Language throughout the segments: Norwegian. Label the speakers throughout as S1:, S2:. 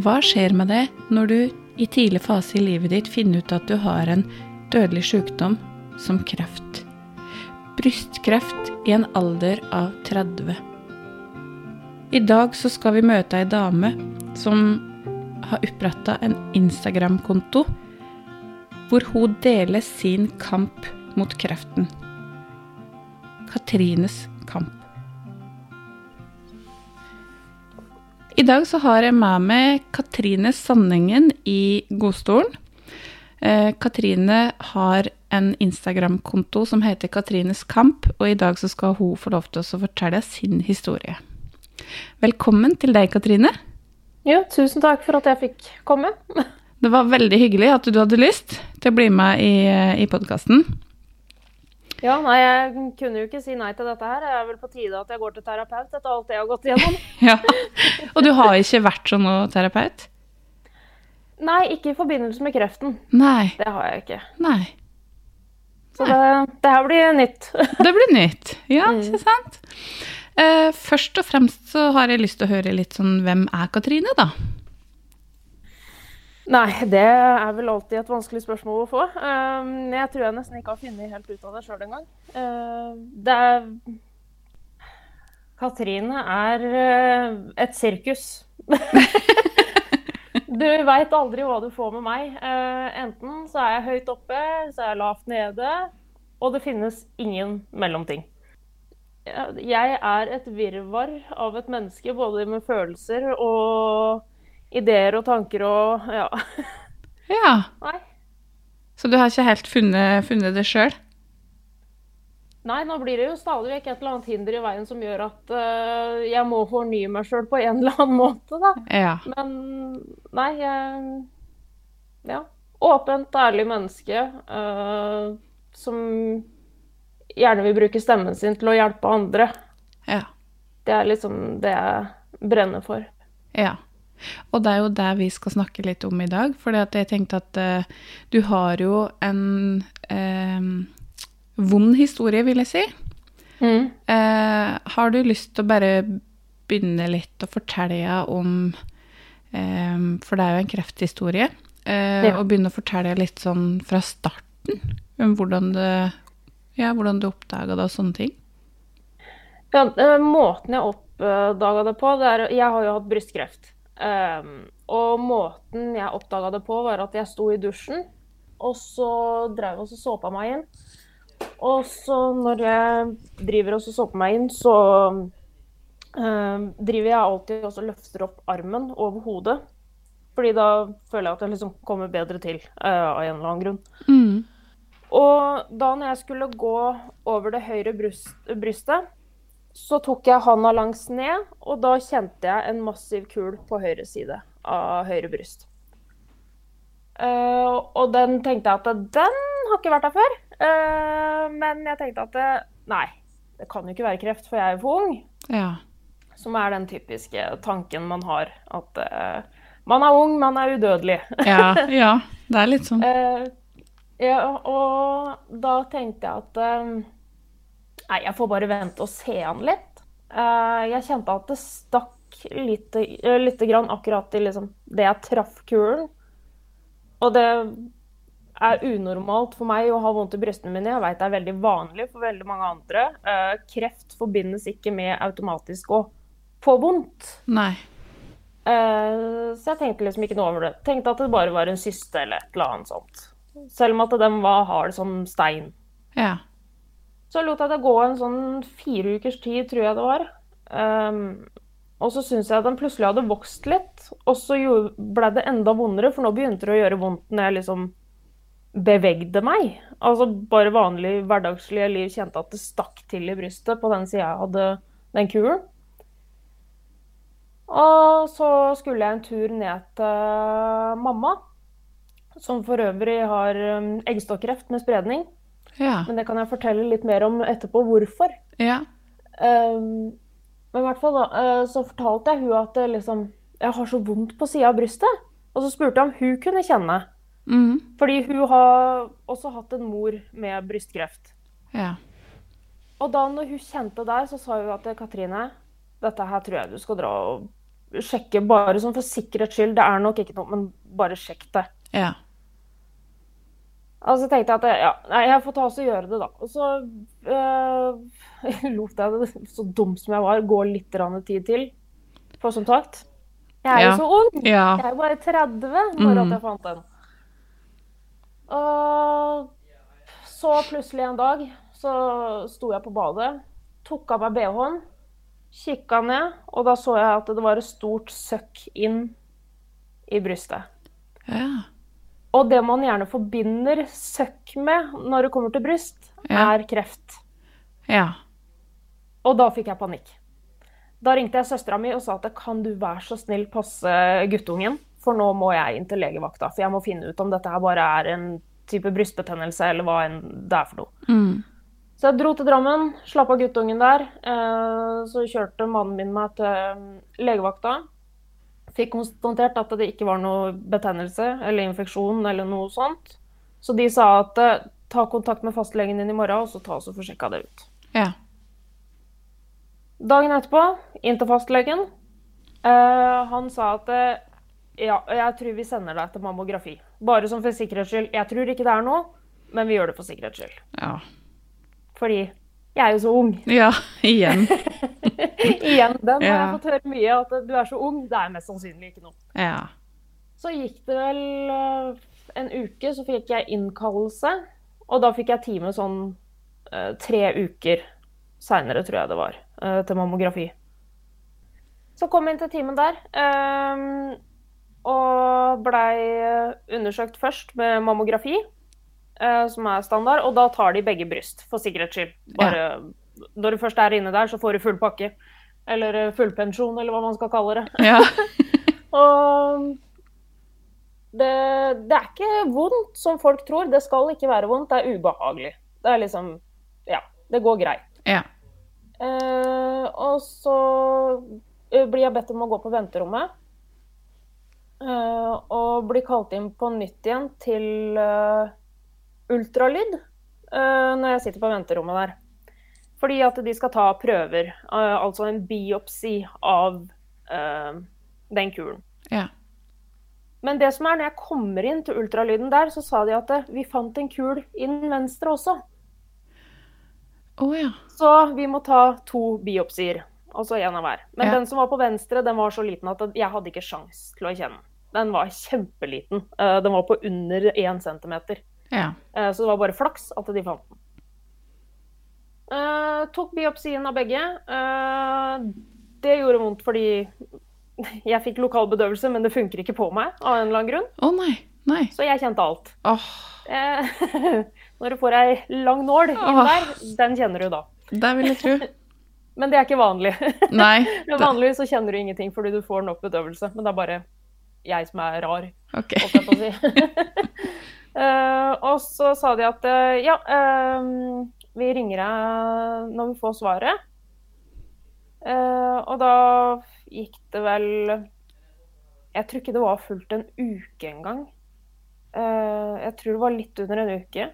S1: Hva skjer med deg når du i tidlig fase i livet ditt finner ut at du har en dødelig sykdom som kreft? Brystkreft i en alder av 30. I dag så skal vi møte ei dame som har oppretta en Instagram-konto hvor hun deler sin kamp mot kreften. Katrines kamp. I dag så har jeg med meg Katrine Sandengen i godstolen. Eh, Katrine har en Instagram-konto som heter Katrines kamp, og i dag så skal hun få lov til å fortelle sin historie. Velkommen til deg, Katrine.
S2: Ja, tusen takk for at jeg fikk komme.
S1: Det var veldig hyggelig at du hadde lyst til å bli med i, i podkasten.
S2: Ja, nei, jeg kunne jo ikke si nei til dette her. Det er vel på tide at jeg går til terapeut etter alt jeg har gått igjennom.
S1: Ja. Og du har ikke vært sånn noe terapeut?
S2: Nei, ikke i forbindelse med kreften.
S1: Nei.
S2: Det har jeg ikke.
S1: Nei.
S2: Så det, det her blir nytt.
S1: Det blir nytt. Ja, ikke sant? Eh, først og fremst så har jeg lyst til å høre litt sånn Hvem er Katrine, da?
S2: Nei, det er vel alltid et vanskelig spørsmål å få. Ehm, Jeg tror jeg nesten ikke har funnet helt ut av det sjøl engang. Ehm, Det er Katrine er eh, et sirkus. du veit aldri hva du får med meg. Eh, Enten så er jeg høyt oppe, så er jeg lavt nede. Og det finnes ingen mellomting. Ja, Jeg er et virvar av et menneske, både med følelser og ideer og tanker og ja.
S1: Ja.
S2: Nei.
S1: Så du har ikke helt funnet, funnet det sjøl?
S2: Nei, nå blir det jo stadig vekk et eller annet hinder i veien som gjør at eh, jeg må fornye meg sjøl på en eller annen måte, da.
S1: Ja.
S2: Men nei, jeg Ja. Åpent, ærlig menneske eh, som gjerne vil bruke stemmen sin til å hjelpe andre.
S1: ja.
S2: Det er liksom det jeg brenner for.
S1: Ja. Og det er jo det vi skal snakke litt om i dag. For jeg tenkte at eh, du har jo en eh, vond historie, vil jeg si.
S2: Mm.
S1: Eh, har du lyst til å bare begynne litt å fortelle om eh, For det er jo en krefthistorie. Eh,
S2: Ja.
S1: Og begynne å fortelle litt sånn fra starten om hvordan det ja, hvordan du oppdaga det og sånne ting.
S2: Ja, eh, måten jeg oppdaga det på det er, Jeg har jo hatt brystkreft. Ehm, og måten jeg oppdaga det på, var at jeg sto i dusjen, og så drev og så såpa meg inn. Og så når jeg driver og så såper meg inn, så ehm, driver jeg alltid og så løfter opp armen over hodet. Fordi da føler jeg at jeg liksom kommer bedre til eh, av en eller annen grunn.
S1: Mm.
S2: Og da når jeg skulle gå over det høyre brust, brystet, så tok jeg handa langs ned, og da kjente jeg en massiv kul på høyre side av høyre bryst. Eh, og den tenkte jeg at den har ikke vært der før. Eh, men jeg tenkte at eh, nei, det kan jo ikke være kreft, for jeg er jo for ung.
S1: Ja.
S2: Som er den typiske tanken man har. At eh, man er ung, man er udødelig.
S1: ja. Ja. Det er litt sånn.
S2: Eh, ja, og da tenkte jeg at eh, Nei, jeg får bare vente og se han litt. Eh, jeg kjente at det stakk lite, eh, lite grann akkurat i liksom, det jeg traff kulen. Og det er unormalt for meg å ha vondt i brystene mine. Jeg veit det er veldig vanlig for veldig mange andre. Eh, kreft forbindes ikke med automatisk å få vondt.
S1: Nei.
S2: Eh, Så jeg tenkte liksom ikke noe over det. Tenkte at det bare var en syste eller et eller annet sånt. Selv om at den var hard som stein.
S1: Ja.
S2: Så lot jeg det gå en sånn fire ukers tid, tror jeg det var. Ehm, og så syntes jeg at den plutselig hadde vokst litt. Og så gjorde- ble det enda vondere, for nå begynte det å gjøre vondt når jeg liksom bevegde meg. Altså bare vanlig hverdagslige liv kjente at det stakk til i brystet på den sida jeg hadde den kulen. Og så skulle jeg en tur ned til mamma, som for øvrig har um, eggstokkreft med spredning.
S1: Ja.
S2: Men det kan jeg fortelle litt mer om etterpå hvorfor.
S1: Ja.
S2: Ehm, men i hvert fall da, eh, så fortalte jeg hun at det liksom, jeg har så vondt på sida av brystet. Og så spurte jeg om hun kunne kjenne.
S1: Mm.
S2: Fordi hun har også hatt en mor med brystkreft.
S1: Ja.
S2: eh, Og da når hun kjente der, så sa hun at Katrine, dette her tror jeg du skal dra og sjekke bare sånn for sikkerhets skyld. Det er nok ikke noe, men bare sjekk det.
S1: Ja.
S2: Altså tenkte jeg at ja, nei, jeg får ta oss og gjøre det, da. Og så øh, lot jeg det, så dum som jeg var, gå litt grann tid til. For som sagt, jeg er
S1: Ja.
S2: jo så ung.
S1: ja.
S2: Jeg er jo bare 30
S1: Mm.
S2: når at jeg fant den. Og så plutselig en dag så sto jeg på badet, tok av meg BH-en, kikka ned, og da så jeg at det var et stort søkk inn i brystet.
S1: ja.
S2: Og det man gjerne forbinder søkk med når det kommer til bryst,
S1: Ja.
S2: er kreft.
S1: ja.
S2: Og da fikk jeg panikk. Da ringte jeg søstera mi og sa at kan du være så snill passe guttungen, for nå må jeg inn til legevakta, for jeg må finne ut om dette her bare er en type brystbetennelse eller hva enn det er for noe.
S1: Mm.
S2: Så jeg dro til Drammen, slapp av guttungen der. eh, Så kjørte mannen min meg til eh, legevakta. Fikk konstatert at det ikke var noe betennelse eller infeksjon eller noe sånt. Så de sa at eh, ta kontakt med fastlegen din i morgen, og så ta oss og få sjekka det ut.
S1: ja.
S2: Dagen etterpå, inn til fastlegen. Eh, han sa at eh, ja, jeg tror vi sender deg til mammografi. Bare sånn for sikkerhets skyld. Jeg tror ikke det er noe, men vi gjør det for sikkerhets skyld.
S1: Ja.
S2: Fordi jeg er jo så ung.
S1: Ja, igjen.
S2: Igjen, den har jeg
S1: Ja.
S2: fått høre mye, at eh, du er så ung. Det er mest sannsynlig ikke noe.
S1: Ja.
S2: Så gikk det vel eh, en uke, så fikk jeg innkallelse. Og da fikk jeg time sånn eh, tre uker seinere, tror jeg det var, eh, til mammografi. Så kom jeg inn til timen der. eh, og blei undersøkt først med mammografi, eh, som er standard. Og da tar de begge bryst, for sikkerhets skyld. Bare når du først er inne der, så får du full pakke. Eller eh, fullpensjon, eller hva man skal kalle det.
S1: Ja.
S2: Og det, det er ikke vondt, som folk tror. Det skal ikke være vondt, det er ubehagelig. Det er liksom Ja, det går greit.
S1: Ja.
S2: Eh, og så eh, blir jeg bedt om å gå på venterommet. Eh, og blir kalt inn på nytt igjen til eh, ultralyd eh, når jeg sitter på venterommet der. Fordi at de skal ta prøver, eh, altså en biopsi av eh, den kulen.
S1: Ja.
S2: Men det som er, når jeg kommer inn til ultralyden der, så sa de at eh, vi fant en kul i den venstre også.
S1: Å ja.
S2: Så vi må ta to biopsier, altså én av hver. Men
S1: Ja.
S2: den som var på venstre, den var så liten at jeg hadde ikke sjans til å kjenne den. Den var kjempeliten. Eh, Den var på under én centimeter.
S1: Ja.
S2: Eh, Så det var bare flaks at de fant den. Eh, tok biopsien av begge. Eh, det gjorde vondt fordi jeg fikk lokal bedøvelse, men det funker ikke på meg av en eller annen grunn.
S1: Å nei. Nei.
S2: Så jeg kjente alt.
S1: Åh.
S2: Eh, når du får ei lang nål inn
S1: Åh.
S2: der, den kjenner du da.
S1: Der vil jeg tro.
S2: Men det er ikke vanlig.
S1: Nei.
S2: Men
S1: Da.
S2: Vanligvis så kjenner du ingenting fordi du får nok bedøvelse, men det er bare jeg som er rar,
S1: Ok.
S2: holdt jeg på å si. Eh, og så sa de at eh, ja, eh, vi ringer deg når vi får svaret. Eh, og da gikk det vel Jeg tror ikke det var fullt en uke engang. Uh, jeg tror det var litt under en uke.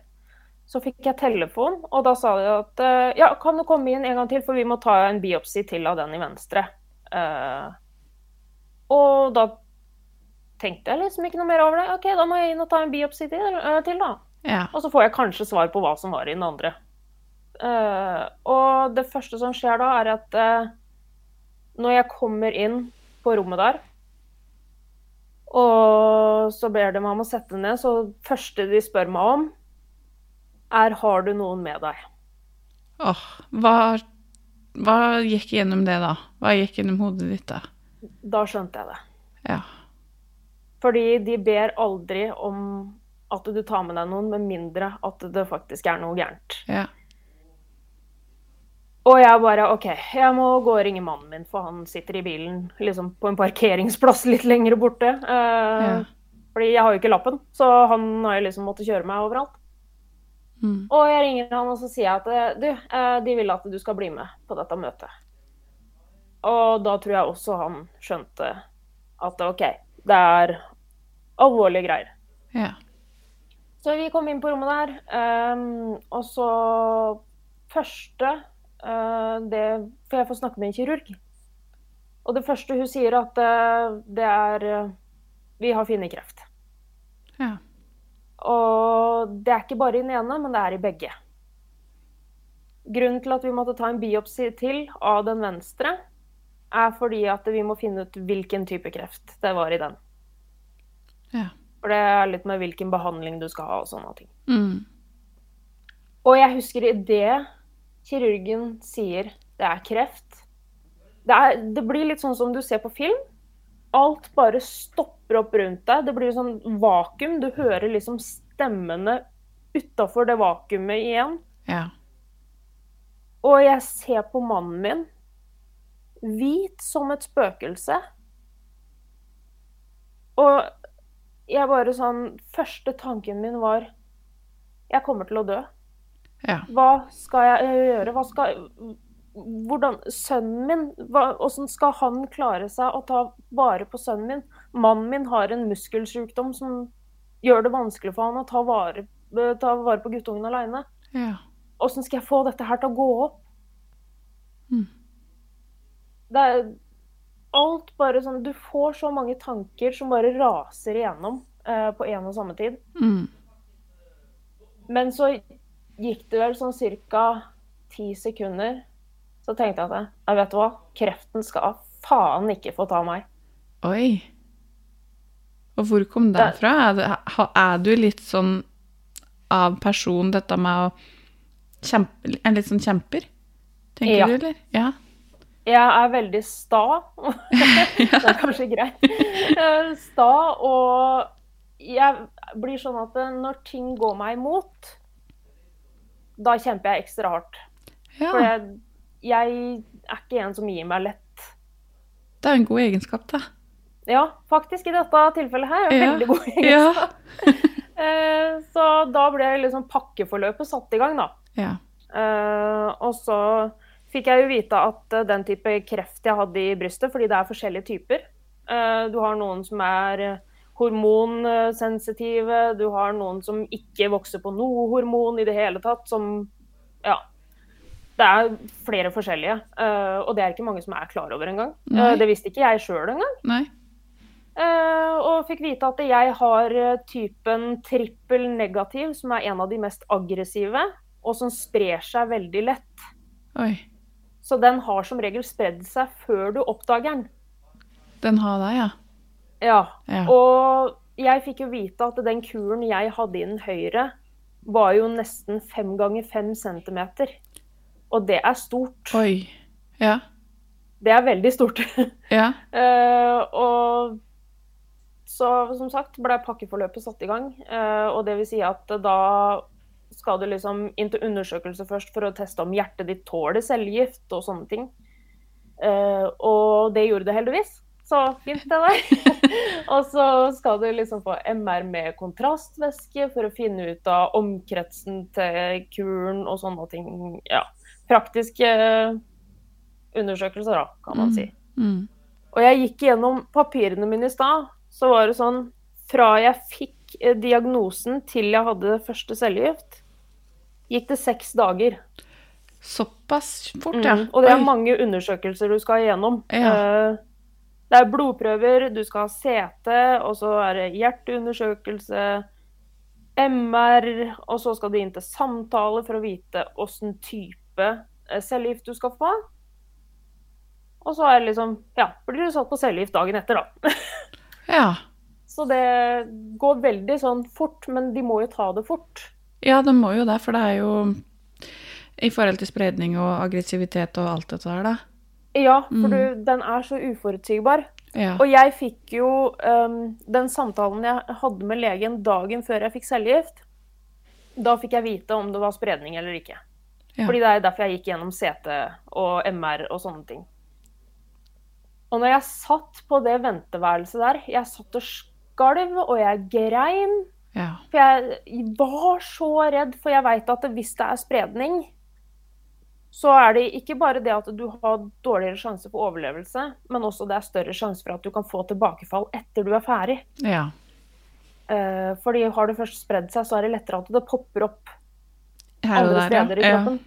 S2: Så fikk jeg telefon, og da sa de at eh, ja, kan du komme inn en gang til, for vi må ta en biopsi til av den i venstre. Eh, og da tenkte jeg liksom ikke noe mer over det. OK, da må jeg inn og ta en biopsi til, eh, til da.
S1: Ja.
S2: Og så får jeg kanskje svar på hva som var i den andre. Eh, og det første som skjer da, er at eh, når jeg kommer inn på rommet der, og så ber de meg om å sette ned, så det første de spør meg om, er har du noen med deg.
S1: Åh. Hva, hva gikk gjennom det, da? Hva gikk gjennom hodet ditt, da?
S2: Da skjønte jeg det.
S1: Ja.
S2: Fordi de ber aldri om at du tar med deg noen, med mindre at det faktisk er noe gærent.
S1: Ja.
S2: Og jeg bare OK, jeg må gå og ringe mannen min, for han sitter i bilen liksom på en parkeringsplass litt lenger borte. Eh,
S1: Ja.
S2: Fordi jeg har jo ikke lappen, så han har jo liksom måttet kjøre meg overalt.
S1: Mm.
S2: Og jeg ringer han og så sier jeg at du, eh, de vil at du skal bli med på dette møtet. Og da tror jeg også han skjønte at OK, det er alvorlige greier.
S1: Ja.
S2: Så vi kom inn på rommet der, ehm, og så første eh, det, For jeg får snakke med en kirurg. Og det første hun sier, at eh, det er eh, Vi har funnet kreft.
S1: Ja.
S2: Og det er ikke bare i den ene, men det er i begge. Grunnen til at vi måtte ta en biopsi til av den venstre, er fordi at vi må finne ut hvilken type kreft det var i den.
S1: ja.
S2: For det er litt med hvilken behandling du skal ha og sånne ting.
S1: Mm.
S2: Og jeg husker idet kirurgen sier det er kreft det, er, det blir litt sånn som du ser på film. Alt bare stopper opp rundt deg. Det blir sånn vakuum. Du hører liksom stemmene utafor det vakuumet igjen.
S1: ja.
S2: Og jeg ser på mannen min, hvit som et spøkelse. Og jeg bare sånn Første tanken min var Jeg kommer til å dø.
S1: Ja.
S2: Hva skal jeg gjøre? Hva skal Hvordan Sønnen min hva, Hvordan skal han klare seg å ta vare på sønnen min? Mannen min har en muskelsykdom som gjør det vanskelig for han å ta vare, ta vare på guttungen aleine.
S1: Ja.
S2: Åssen skal jeg få dette her til å gå opp?
S1: Mm.
S2: Det er alt bare sånn Du får så mange tanker som bare raser igjennom eh, på en og samme tid.
S1: Mm.
S2: Men så gikk det vel sånn ca. ti sekunder. Så tenkte jeg at jeg- jeg vet du hva, kreften skal faen ikke få ta meg.
S1: Oi. Og hvor kom det
S2: Det-
S1: fra? Er, det, ha- er du litt sånn av person, dette med å kjempe En litt sånn kjemper? Tenker
S2: Ja.
S1: du, eller? Ja.
S2: Jeg er veldig sta. det er kanskje greit. Eh, Sta og jeg blir sånn at når ting går meg imot, da kjemper jeg ekstra hardt.
S1: ja.
S2: For jeg, jeg er ikke en som gir meg lett.
S1: Det er jo en god egenskap, da.
S2: Ja, faktisk i dette tilfellet her.
S1: Ja.
S2: Veldig god egenskap.
S1: Ja.
S2: Eh, Så da ble liksom pakkeforløpet satt i gang, da.
S1: ja.
S2: Eh, Og så fikk jeg jo vite at eh, den type kreft jeg hadde i brystet, fordi det er forskjellige typer Eh, Du har noen som er eh, hormonsensitive, du har noen som ikke vokser på noe hormon i det hele tatt, som Ja. Det er flere forskjellige, eh, og det er ikke mange som er klar over engang.
S1: Nei.
S2: Eh, Det visste ikke jeg sjøl engang.
S1: Nei.
S2: Eh, og fikk vite at jeg har eh, typen trippel negativ, som er en av de mest aggressive, og som sprer seg veldig lett.
S1: Oi.
S2: Så den har som regel spredd seg før du oppdager den.
S1: Den har deg, ja.
S2: Ja.
S1: Ja.
S2: Og jeg fikk jo vite at den kuren jeg hadde i den høyre, var jo nesten fem ganger fem centimeter. Og det er stort.
S1: Oi. Ja.
S2: Det er veldig stort.
S1: Ja.
S2: Eh, og så som sagt ble pakkeforløpet satt i gang. eh, og det vil si at da skal du liksom inn til undersøkelse først for å teste om hjertet ditt tåler cellegift og sånne ting. Eh, og det gjorde det heldigvis. Så fint, det der. og så skal du liksom få MR med kontrastvæske for å finne ut av omkretsen til kuren og sånne ting. Ja. Praktiske eh, undersøkelser, da, kan man si.
S1: Mm.
S2: Og jeg gikk gjennom papirene mine i stad, så var det sånn Fra jeg fikk eh, diagnosen til jeg hadde første cellegift, gikk det seks dager.
S1: Såpass fort,
S2: Mm.
S1: ja.
S2: Og det er
S1: Oi.
S2: mange undersøkelser du skal igjennom.
S1: Ja.
S2: Eh, Det er blodprøver, du skal ha CT, og så er det hjerteundersøkelse, MR, og så skal du inn til samtale for å vite åssen type eh, cellegift du skal få. Og så er det liksom Ja, blir du satt på cellegift dagen etter, da.
S1: Ja.
S2: Så det går veldig sånn fort, men de må jo ta det fort.
S1: Ja, det må jo det, for det er jo I forhold til spredning og aggressivitet og alt dette der, da.
S2: Ja, for du, den er så uforutsigbar.
S1: Ja.
S2: Og jeg fikk jo øhm, den samtalen jeg hadde med legen dagen før jeg fikk cellegift. Da fikk jeg vite om det var spredning eller ikke.
S1: Ja.
S2: Fordi det er derfor jeg gikk gjennom CT og MR og sånne ting. Og når jeg satt på det venteværelset der, jeg satt og skalv, og jeg grein.
S1: ja.
S2: For jeg var så redd, for jeg veit at hvis det er spredning, så er det ikke bare det at du har dårligere sjanse for overlevelse, men også det er større sjanse for at du kan få tilbakefall etter du er ferdig.
S1: Ja.
S2: Eh, fordi har det først spredd seg, så er det lettere at det popper opp
S1: Her og
S2: andre
S1: der, ja.
S2: steder i kroppen.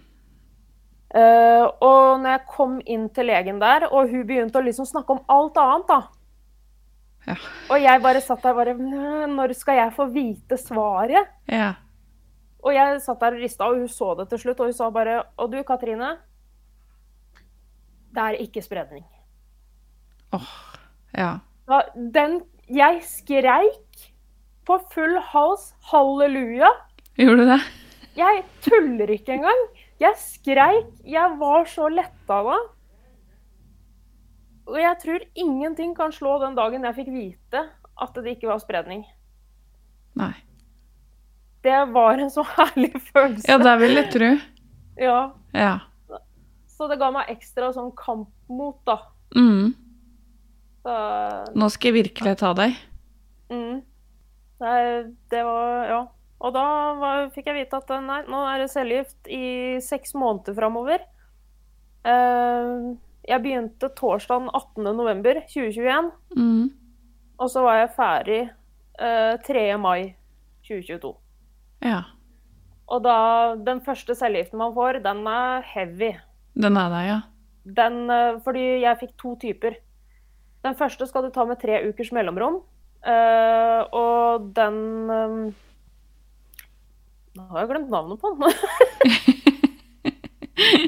S2: Eh, og når jeg kom inn til legen der, og hun begynte å liksom snakke om alt annet, da.
S1: Ja.
S2: Og jeg bare satt der bare "Nå, Når skal jeg få vite svaret?
S1: Ja.
S2: Og jeg satt der og rista, og hun så det til slutt, og hun sa bare Og du, Katrine. Det er ikke spredning.
S1: Åh. Ja.
S2: Da, den Jeg skreik på full hals halleluja.
S1: Gjorde du det?
S2: Jeg tuller ikke engang. Jeg skreik. Jeg var så letta da. Og jeg tror ingenting kan slå den dagen jeg fikk vite at det ikke var spredning.
S1: Nei.
S2: Det var en så herlig følelse.
S1: Ja, det vil jeg tro.
S2: Ja.
S1: Ja.
S2: Så det ga meg ekstra sånn kampmot, da.
S1: Mm.
S2: Så,
S1: Nå skal jeg virkelig ta deg.
S2: mm. Nei, det var Ja. Og da var, fikk jeg vite at eh, nei, nå er det cellegift i seks måneder framover. Eh, jeg begynte torsdagen 18.11.2021.
S1: Mm.
S2: Og så var jeg ferdig eh, 3. mai 2022.
S1: Ja.
S2: Og da Den første cellegiften man får, den er heavy.
S1: Den er deg, ja.
S2: Den, eh, fordi jeg fikk to typer. Den første skal du ta med tre ukers mellomrom. eh, og den eh, Nå har jeg glemt navnet på den.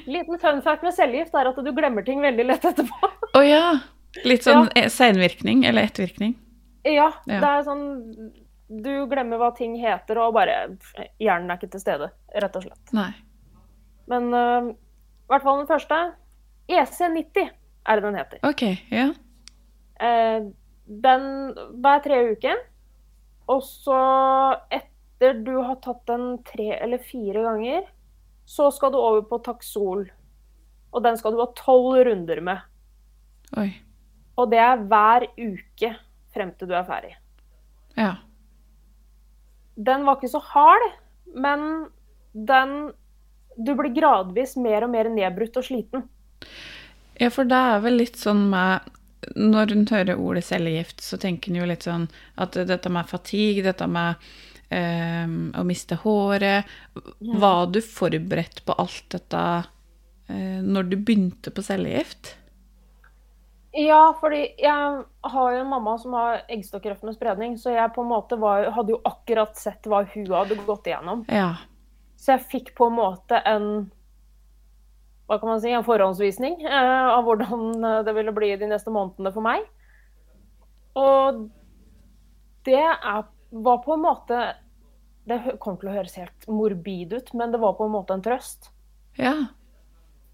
S2: Liten fun fact med cellegift er at du glemmer ting veldig lett etterpå.
S1: Å ja. Litt sånn eh, seinvirkning eller ettervirkning.
S2: Ja,
S1: Ja.
S2: det er sånn Du glemmer hva ting heter, og bare Hjernen er ikke til stede, rett og slett.
S1: Nei.
S2: Men øh, i hvert fall den første. EC90 er det den heter.
S1: OK. Ja.
S2: Eh, den hver tre uker. Og så, etter du har tatt den tre eller fire ganger, så skal du over på Taxol. Og den skal du ha tolv runder med.
S1: Oi.
S2: Og det er hver uke frem til du er ferdig.
S1: Ja.
S2: den var ikke så hard, men den Du blir gradvis mer og mer nedbrutt og sliten.
S1: Ja, for det er vel litt sånn med Når hun hører ordet cellegift, så tenker hun jo litt sånn at dette med fatigue, dette med eh, å miste håret Var du forberedt på alt dette eh, når du begynte på cellegift?
S2: Ja, fordi jeg har jo en mamma som har eggstokkreft med spredning, så jeg på en måte var, hadde jo akkurat sett hva hun hadde gått igjennom.
S1: Ja.
S2: Så jeg fikk på en måte en hva kan man si, en forhåndsvisning eh, av hvordan eh, det ville bli de neste månedene for meg. Og det er, var på en måte Det hø- kommer til å høres helt morbid ut, men det var på en måte en trøst.
S1: Ja.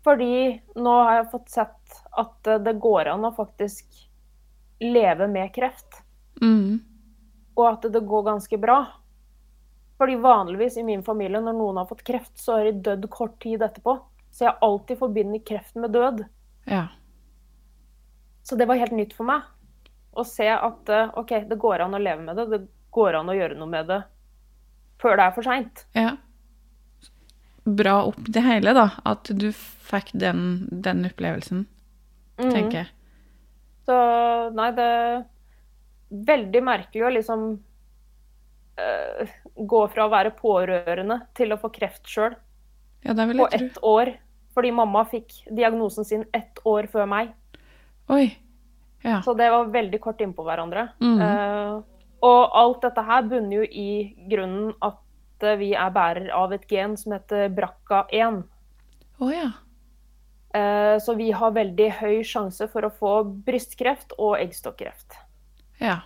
S2: Fordi nå har jeg fått sett at eh, det går an å faktisk leve med kreft
S1: Mm.
S2: og at det går ganske bra. Fordi vanligvis i min familie, når noen har fått kreft, så har de dødd kort tid etterpå. Så jeg alltid forbinder kreft med død.
S1: Ja.
S2: Så det var helt nytt for meg. Å se at eh, OK, det går an å leve med det. Det går an å gjøre noe med det før det er for seint.
S1: Ja. Bra opp det hele, da. At du fikk den, den opplevelsen, tenker
S2: Mm.
S1: jeg.
S2: Så nei, det er veldig merkelig å liksom eh, gå fra å være pårørende til å få kreft sjøl
S1: Ja, det vil
S2: på
S1: jeg tro.
S2: ett år. Fordi mamma fikk diagnosen sin ett år før meg.
S1: Oi. Ja.
S2: Så det var veldig kort innpå hverandre.
S1: Mhm.
S2: Eh, og alt dette her bunner jo i grunnen at eh, vi er bærer av et gen som heter BRCA1.
S1: Å ja.
S2: Eh, så vi har veldig høy sjanse for å få brystkreft og eggstokkreft.
S1: Ja.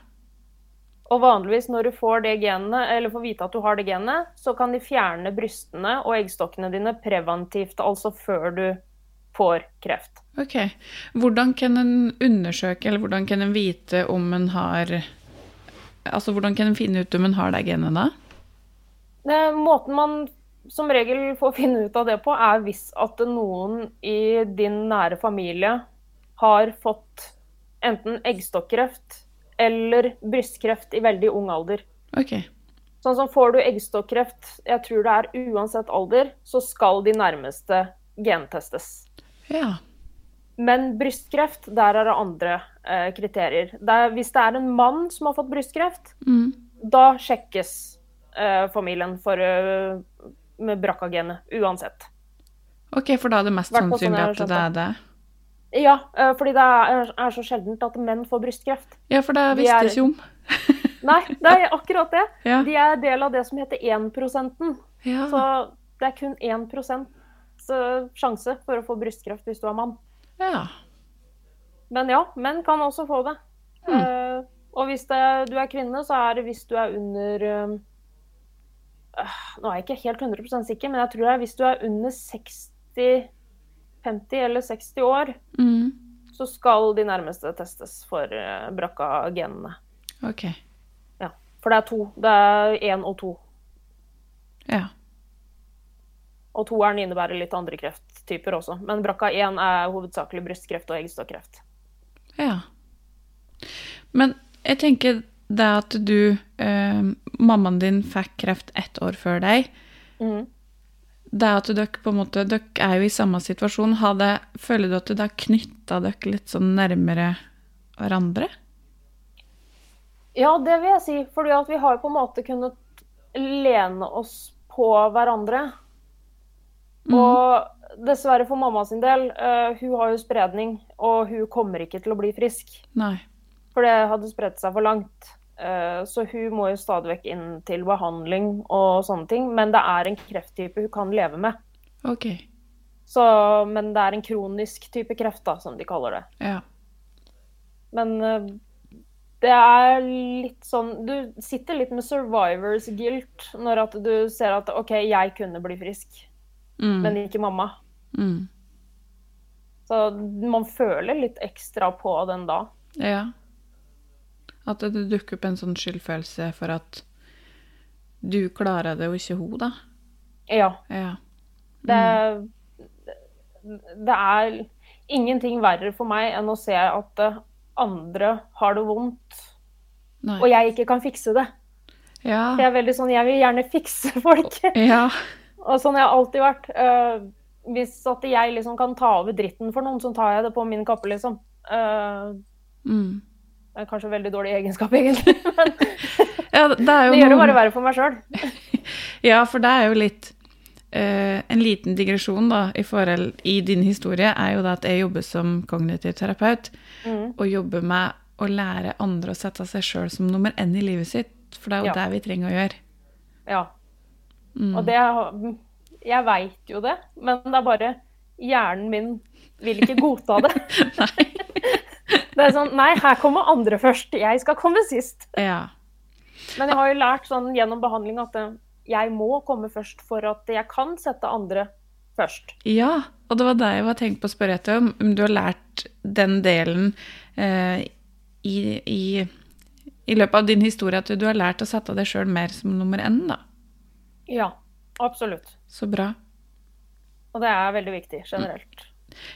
S2: Og vanligvis når du får det genet, eller får vite at du har det genet, så kan de fjerne brystene og eggstokkene dine preventivt, altså før du får kreft.
S1: Ok. Hvordan kan en undersøke, eller hvordan kan en vite om en har Altså, hvordan kan en finne ut om en har det genet, da?
S2: Eh, Måten man som regel får finne ut av det på, er hvis at noen i din nære familie har fått enten eggstokkreft eller brystkreft i veldig ung alder.
S1: Ok.
S2: Sånn som får du eggstokkreft, jeg tror det er uansett alder, så skal de nærmeste gentestes.
S1: Ja.
S2: Men brystkreft, der er det andre eh, kriterier. Det er, hvis det er en mann som har fått brystkreft,
S1: Mm.
S2: da sjekkes eh, familien for, eh, med BRCA-genet uansett.
S1: Ok, for da er det mest
S2: Hvertfall sånn
S1: sannsynlig
S2: jeg har
S1: at det er
S2: skjønt
S1: det.
S2: Ja, eh, fordi det er, er så sjeldent at menn får brystkreft.
S1: Ja, for det
S2: Vi
S1: visste
S2: er-
S1: jeg ikke om.
S2: Nei, det er akkurat det.
S1: Ja.
S2: De er del av det som heter 1 Så
S1: Ja.
S2: det er kun 1 så sjanse for å få brystkreft hvis du er mann.
S1: ja.
S2: Men ja, menn kan også få det. Eh, og hvis det, du er kvinne, så er det hvis du er under eh, øh, Nå er jeg ikke helt 100 sikker, men jeg tror det er hvis du er under 60 50 eller 60 år,
S1: Mm.
S2: så skal de nærmeste testes for uh, BRCA-genene.
S1: Ok.
S2: Ja. For det er to. Det er én og to.
S1: Ja.
S2: Og toeren innebærer litt andre krefttyper også. Men BRCA1 er hovedsakelig brystkreft og eggstokkreft.
S1: Ja. Men jeg tenker det at du eh, Mammaen din fikk kreft ett år før deg.
S2: Mhm.
S1: Det at dere på en måte Dere er jo i samme situasjon. Har det, føler du at det har knytta dere litt sånn nærmere hverandre?
S2: Ja, det vil jeg si. Fordi at vi har jo på en måte kunnet lene oss på hverandre. Og dessverre for mamma sin del, eh, hun har jo spredning, og hun kommer ikke til å bli frisk.
S1: Nei.
S2: For det hadde spredt seg for langt. Eh, Så hun må jo stadig vekk inn til behandling og sånne ting. Men det er en krefttype hun kan leve med.
S1: OK.
S2: Så, men det er en kronisk type kreft, da, som de kaller det.
S1: Ja.
S2: Men eh, det er litt sånn Du sitter litt med survivors guilt når at du ser at OK, jeg kunne bli frisk,
S1: Mm.
S2: men ikke mamma.
S1: mm.
S2: Så man føler litt ekstra på den da.
S1: Ja. At det dukker opp en sånn skyldfølelse for at du klarer det, og ikke hun, da.
S2: Ja.
S1: Ja.
S2: Det, det er ingenting verre for meg enn å se at eh, andre har det vondt,
S1: Nei.
S2: og jeg ikke kan fikse det.
S1: Ja.
S2: Jeg er veldig sånn, jeg vil gjerne fikse folk.
S1: Ja.
S2: Og sånn har jeg alltid vært. Eh, hvis at jeg liksom kan ta over dritten for noen, så tar jeg det på min kappe, liksom. Eh,
S1: Mm.
S2: det er kanskje en veldig dårlig egenskap, egentlig. Men
S1: ja. Det er jo
S2: det gjør det
S1: noen-
S2: bare verre for meg sjøl.
S1: Ja, for det er jo litt eh, En liten digresjon da, i, forhold, i din historie er jo da at jeg jobber som kognitiv terapeut,
S2: Mhm.
S1: og jobber med å lære andre å sette seg sjøl som nummer én i livet sitt. For det er jo
S2: Ja.
S1: det vi trenger å gjøre.
S2: Ja. Og det har- Jeg veit jo det, men det er bare hjernen min vil ikke godta det.
S1: Nei.
S2: Det er sånn Nei, her kommer andre først. Jeg skal komme sist.
S1: Ja.
S2: Men jeg har jo lært sånn gjennom behandling at eh, jeg må komme først for at jeg kan sette andre først.
S1: ja. Og det var det jeg var tenkt på å spørre etter om. Om du har lært den delen eh, i, i, i løpet av din historie at du har lært å sette deg sjøl mer som nummer én, da.
S2: Ja, absolutt.
S1: Så bra.
S2: Og det er veldig viktig generelt.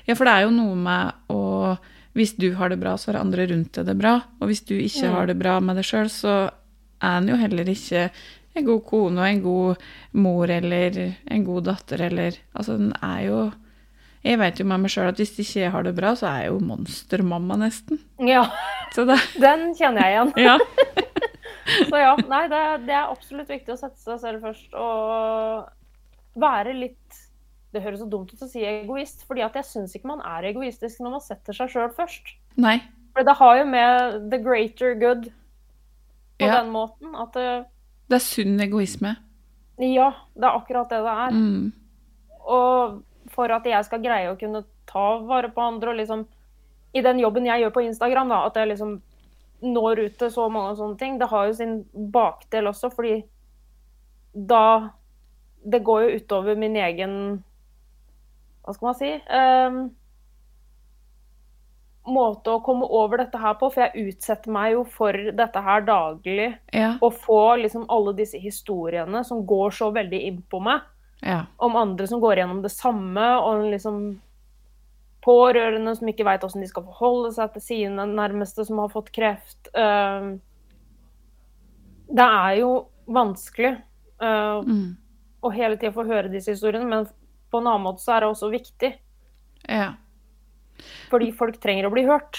S1: Ja, for det er jo noe med å Hvis du har det bra, så har andre rundt deg det bra. Og hvis du ikke har det bra med deg sjøl, så er en jo heller ikke en god kone og en god mor eller en god datter eller Altså, den er jo Jeg veit jo med meg sjøl at hvis ikke jeg har det bra, så er jeg jo monstermamma, nesten.
S2: Ja,
S1: Så det
S2: den kjenner jeg igjen.
S1: Ja.
S2: Så ja, nei, det, det er absolutt viktig å sette seg selv først og være litt Det høres så dumt ut å si egoist, fordi at jeg syns ikke man er egoistisk når man setter seg sjøl først.
S1: Nei.
S2: For det har jo med the greater good på
S1: Ja.
S2: den måten at eh,
S1: Det er sunn egoisme.
S2: ja, det er akkurat det det er.
S1: Mm.
S2: Og for at jeg skal greie å kunne ta vare på andre og liksom I den jobben jeg gjør på Instagram, da, at jeg liksom når ut til så mange og sånne ting, det har jo sin bakdel også, fordi da Det går jo utover min egen Hva skal man si? ehm, måte å komme over dette her på, for jeg utsetter meg jo for dette her daglig.
S1: Ja.
S2: Å få liksom alle disse historiene som går så veldig inn på meg
S1: Ja.
S2: om andre som går gjennom det samme, og liksom pårørende som ikke veit hvordan de skal forholde seg til sine nærmeste som har fått kreft. Eh, Det er jo vanskelig eh,
S1: Mm.
S2: å hele tida få høre disse historiene, men på en annen måte så er det også viktig,
S1: Ja.
S2: fordi folk trenger å bli hørt.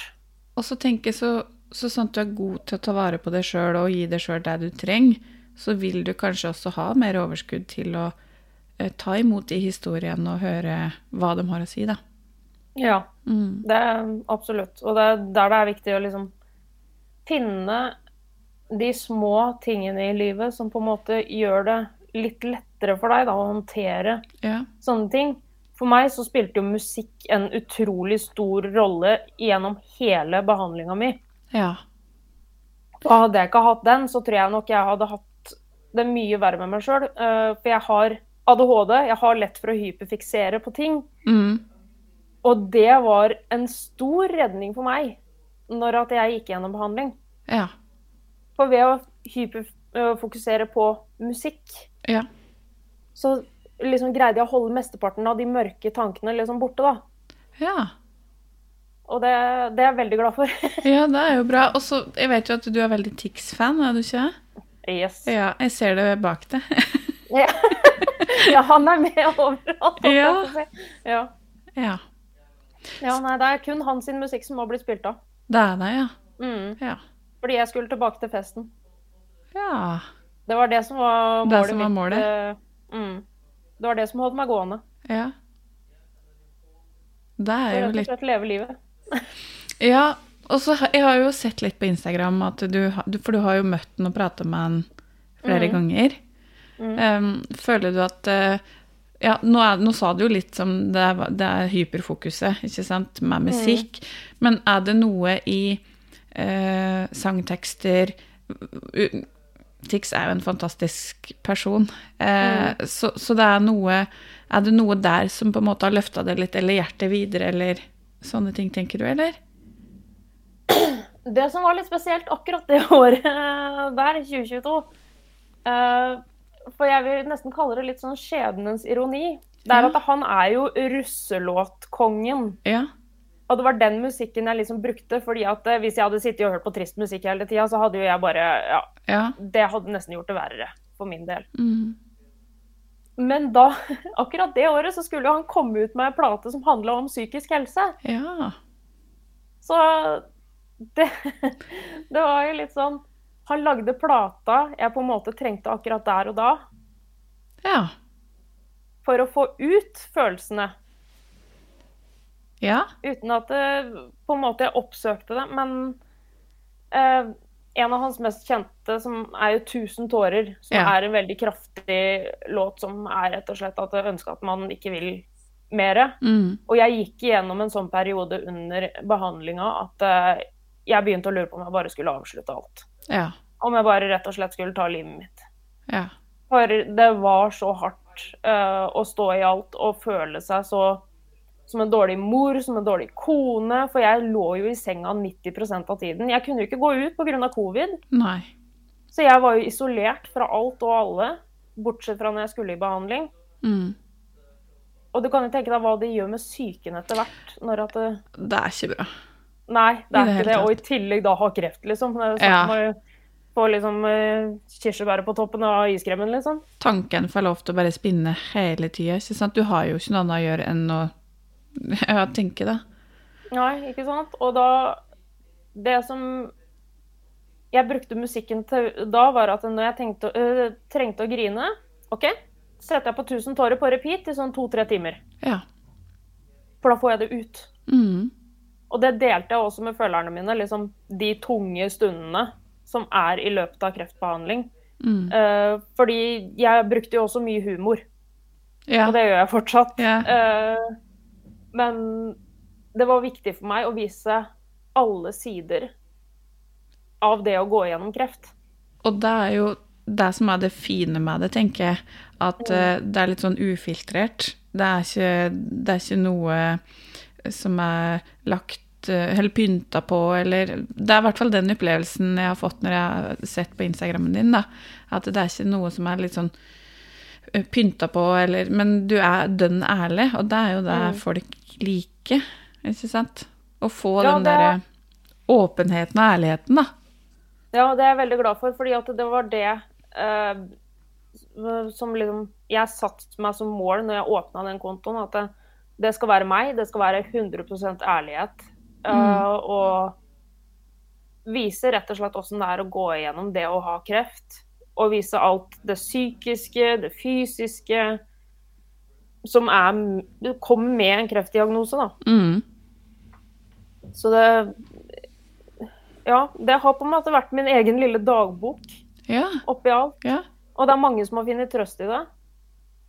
S1: Og så tenker jeg så, så sant du er god til å ta vare på deg sjøl og gi deg sjøl det du trenger, så vil du kanskje også ha mer overskudd til å eh, ta imot de historiene og høre hva de har å si, da.
S2: Ja,
S1: Mm.
S2: det er absolutt. Og det er der det er viktig å liksom finne de små tingene i livet som på en måte gjør det litt lettere for deg da, å håndtere
S1: Ja.
S2: sånne ting. For meg så spilte jo musikk en utrolig stor rolle gjennom hele behandlinga mi.
S1: ja.
S2: Og hadde jeg ikke hatt den, så tror jeg nok jeg hadde hatt det mye verre med meg sjøl. For jeg har ADHD, jeg har lett for å hyperfiksere på ting.
S1: Mm.
S2: Og det var en stor redning for meg når at jeg gikk gjennom behandling.
S1: Ja.
S2: For ved å hyperfokusere på musikk,
S1: Ja.
S2: så liksom greide jeg å holde mesteparten av de mørke tankene liksom borte, da.
S1: ja.
S2: Og det, det er jeg veldig glad for.
S1: Ja, det er jo bra. Og så, jeg vet jo at du er veldig Tix-fan, er du ikke?
S2: Yes.
S1: Ja, jeg ser det bak deg.
S2: Ja. ja, han er med overalt.
S1: Ja.
S2: ja.
S1: ja.
S2: Ja, nei, det er kun hans sin musikk som har blitt spilt av.
S1: Det er det, ja.
S2: Mm.
S1: Ja.
S2: Fordi jeg skulle tilbake til festen.
S1: ja.
S2: Det var det som var
S1: Det
S2: målet
S1: som var
S2: mitt,
S1: målet.
S2: eh, mm. Det var det som holdt meg gående.
S1: Ja. Det
S2: Det
S1: er
S2: var
S1: jo
S2: Rett og
S1: litt
S2: slett leve livet.
S1: Ja, og så har- jeg har jo sett litt på Instagram at du ha- du For du har jo møtt han og prata med han flere
S2: Mhm.
S1: ganger.
S2: Mhm.
S1: Em, føler du at eh, Ja, nå, er, nå sa du jo litt som det er, det er hyperfokuset, ikke sant, med musikk. Men er det noe i eh, sangtekster u- Tix er jo en fantastisk person. Eh, så, så det er noe Er det noe der som på en måte har løfta det litt, eller hjertet videre, eller sånne ting, tenker du, eller?
S2: Det som var litt spesielt akkurat det året eh, der, 2022 eh, For jeg vil nesten kalle det litt sånn skjebnens ironi. Det er
S1: Ja.
S2: at han er jo russelåtkongen.
S1: Ja.
S2: Og det var den musikken jeg liksom brukte, fordi at eh, hvis jeg hadde sittet og hørt på trist musikk hele tida, så hadde jo jeg bare Ja,
S1: Ja.
S2: det hadde nesten gjort det verre for min del.
S1: Mm.
S2: Men da, akkurat det året, så skulle jo han komme ut med en plate som handla om psykisk helse.
S1: Ja.
S2: Så det, det var jo litt sånn Han lagde plata jeg på en måte trengte akkurat der og da,
S1: Ja.
S2: for å få ut følelsene.
S1: Ja.
S2: Uten at det, på en måte jeg oppsøkte det. Men eh, en av hans mest kjente, som er jo 'Tusen tårer', som
S1: Ja.
S2: er en veldig kraftig låt som er rett og slett at jeg ønsker at man ikke vil mere.
S1: Mm.
S2: Og jeg gikk igjennom en sånn periode under behandlinga at eh, jeg begynte å lure på om jeg bare skulle avslutte alt.
S1: Ja.
S2: Om jeg bare rett og slett skulle ta livet mitt.
S1: Ja.
S2: For det var så hardt eh, å stå i alt og føle seg så som en dårlig mor, som en dårlig kone. For jeg lå jo i senga 90 av tiden. Jeg kunne jo ikke gå ut pga. covid,
S1: Nei.
S2: så jeg var jo isolert fra alt og alle. Bortsett fra når jeg skulle i behandling.
S1: Mm.
S2: Og du kan jo tenke deg hva det gjør med psyken etter hvert. når at... Det
S1: Det er ikke bra.
S2: Nei, det
S1: I
S2: er
S1: det
S2: ikke
S1: hele
S2: det.
S1: tatt.
S2: Og i tillegg da ha kreft, liksom. Det er jo
S1: Ja.
S2: snakk om å få liksom eh, kirsebæret på toppen av iskremen, liksom.
S1: Tanken får lov til å bare spinne hele tida, ikke sant? Du har jo ikke noe annet å gjøre enn å ja, tenke, da.
S2: Nei, ikke sant? Og da Det som jeg brukte musikken til da, var at når jeg tenkte, øh, trengte å grine, OK, setter jeg på 1000 tårer på repeat i sånn to-tre timer.
S1: Ja.
S2: For da får jeg det ut.
S1: Mm.
S2: Og det delte jeg også med følgerne mine, liksom de tunge stundene som er i løpet av kreftbehandling.
S1: Mm.
S2: Eh, fordi jeg brukte jo også mye humor.
S1: Ja.
S2: Og det gjør jeg fortsatt.
S1: Ja.
S2: Eh, men det var viktig for meg å vise alle sider av det å gå gjennom kreft.
S1: Og det er jo det som er det fine med det, tenker jeg. At eh, det er litt sånn ufiltrert. Det er ikke, det er ikke noe eh, som er lagt eh, eller pynta på, eller Det er i hvert fall den opplevelsen jeg har fått når jeg har sett på Instagrammen din, da. At det er ikke noe som er litt sånn eh, pynta på, eller Men du er dønn ærlig, og det er jo det
S2: Mm.
S1: folk liker, ikke sant? Å få
S2: Ja,
S1: den
S2: det-
S1: derre åpenheten og ærligheten, da.
S2: Ja, og det er jeg veldig glad for, fordi at det var det eh, som liksom Jeg satte meg som mål når jeg åpna den kontoen, at det, det skal være meg. Det skal være 100 ærlighet. eh, Og vise rett og slett åssen det er å gå igjennom det å ha kreft. Og vise alt det psykiske, det fysiske. som er, du kom med en kreftdiagnose, da.
S1: Mm.
S2: Så det Ja, det har på en måte vært min egen lille dagbok
S1: Ja,
S2: oppi alt.
S1: ja.
S2: Og det er mange som har funnet trøst i det.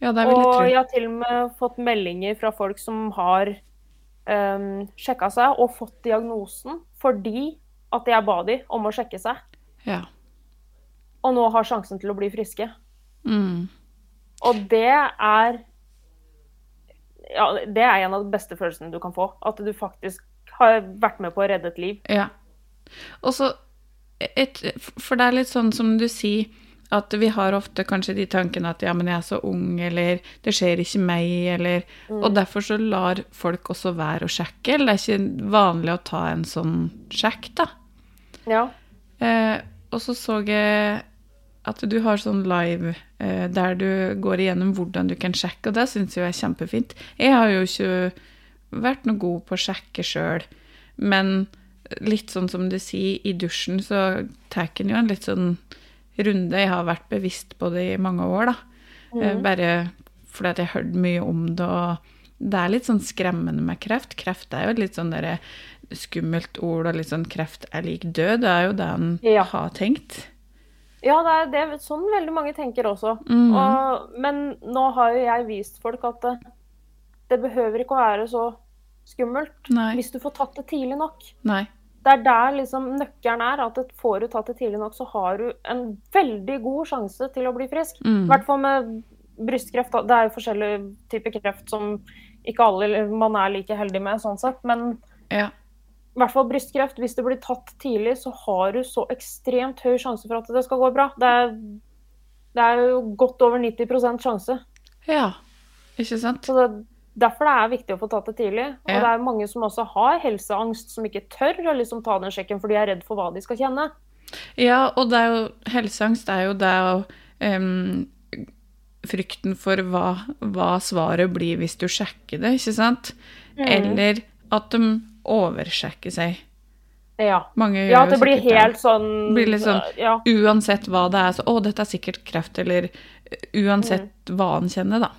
S1: Ja, det vil jeg
S2: og
S1: tro.
S2: jeg har til og med fått meldinger fra folk som har um, sjekka seg og fått diagnosen fordi at jeg ba de om å sjekke seg,
S1: Ja.
S2: og nå har sjansen til å bli friske.
S1: Mm.
S2: Og det er Ja, det er en av de beste følelsene du kan få. At du faktisk har vært med på å redde et liv.
S1: Ja. Og så et, For det er litt sånn som du sier, at vi har ofte kanskje de tankene at ja, men jeg er så ung, eller det skjer ikke meg, eller Og derfor så lar folk også være å sjekke, eller det er ikke vanlig å ta en sånn sjekk, da.
S2: Ja.
S1: Eh, og så så jeg at du har sånn live eh, der du går igjennom hvordan du kan sjekke, og det syns jeg er kjempefint. Jeg har jo ikke vært noe god på å sjekke sjøl, men litt sånn som du sier, i dusjen så tar en jo en litt sånn runde. Jeg har vært bevisst på det i mange år, da. Eh,
S2: Mm.
S1: Bare fordi at jeg har hørt mye om det, og det er litt sånn skremmende med kreft. Kreft er jo et litt sånn derre skummelt ord, og litt sånn kreft er lik død. Det er jo det en
S2: Ja.
S1: har tenkt.
S2: Ja, det er, det er sånn veldig mange tenker også.
S1: Mhm.
S2: Mm. Og, men nå har jo jeg vist folk at det, det behøver ikke å være så skummelt
S1: Nei.
S2: hvis du får tatt det tidlig nok.
S1: Nei.
S2: Det er der liksom nøkkelen er. at det- Får du tatt det tidlig nok, så har du en veldig god sjanse til å bli frisk. I
S1: Mm.
S2: hvert fall med brystkreft. da. Det er jo forskjellige typer kreft som ikke alle man er like heldig med, sånn sett. Men
S1: Ja.
S2: i hvert fall brystkreft, hvis det blir tatt tidlig, så har du så ekstremt høy sjanse for at det skal gå bra. Det er, det er jo godt over 90 sjanse.
S1: ja. Ikke sant?
S2: Så det, derfor det er viktig å få tatt det tidlig. Og
S1: Ja.
S2: det er mange som også har helseangst, som ikke tør å liksom ta den sjekken, for de er redd for hva de skal kjenne.
S1: Ja, og det er jo helseangst er jo det å em, Frykten for hva, hva svaret blir hvis du sjekker det, ikke sant?
S2: Mm.
S1: Eller at de oversjekker seg.
S2: Ja.
S1: Mange
S2: ja, at det
S1: jo
S2: blir
S1: sikkert
S2: helt sånn
S1: Blir litt sånn-
S2: Ja.
S1: Uansett hva det er, så 'Å, dette er sikkert kreft', eller eh, uansett hva en kjenner, da.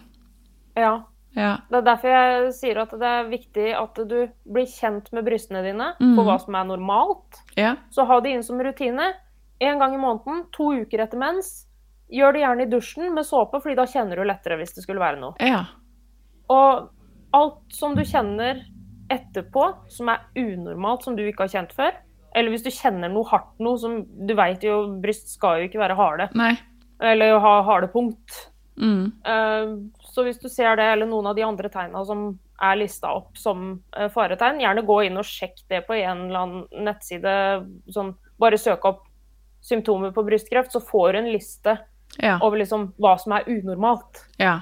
S2: ja.
S1: Ja.
S2: Det er derfor jeg sier at det er viktig at du blir kjent med brystene dine
S1: Mhm.
S2: for hva som er normalt.
S1: ja.
S2: Så ha det inn som rutine. En gang i måneden, to uker etter mens. Gjør det gjerne i dusjen med såpe, fordi da kjenner du lettere hvis det skulle være noe.
S1: Ja.
S2: Og alt som du kjenner etterpå, som er unormalt, som du ikke har kjent før, eller hvis du kjenner noe hardt noe som Du veit jo, bryst skal jo ikke være harde,
S1: Nei.
S2: eller ha harde punkt.
S1: Mm.
S2: Eh, Så hvis du ser det, eller noen av de andre tegna som er lista opp som eh, faretegn, gjerne gå inn og sjekk det på en eller annen nettside. Sånn, bare søk opp symptomer på brystkreft, så får du en liste
S1: Ja.
S2: over liksom hva som er unormalt.
S1: Ja.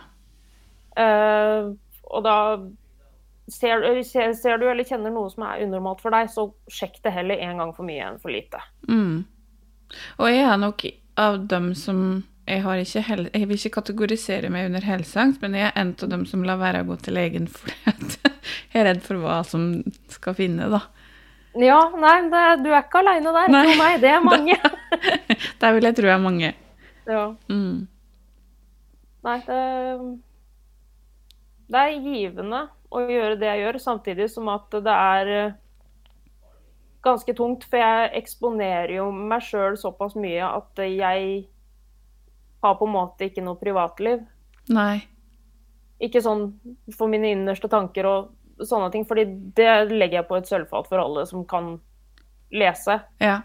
S2: Eh, og da ser, du- ser ser du eller kjenner noe som er unormalt for deg, så sjekk det heller en gang for mye enn for lite.
S1: Mm. Og jeg er nok av dem som jeg, har ikke hel jeg vil ikke kategorisere meg under helseangst, men jeg er en av dem som lar være å gå til legen fordi at jeg er redd for hva som skal finne, da.
S2: Ja, nei, det, du er ikke aleine der.
S1: Nei.
S2: Nei. Nei, det er mange.
S1: Der vil jeg tro jeg er mange.
S2: ja.
S1: Mm.
S2: Nei, det, det er givende å gjøre det jeg gjør, samtidig som at det er eh, ganske tungt. For jeg eksponerer jo meg sjøl såpass mye at jeg har på en måte ikke noe privatliv.
S1: Nei.
S2: Ikke sånn for mine innerste tanker og sånne ting, fordi det legger jeg på et sølvfat for alle som kan lese.
S1: Ja.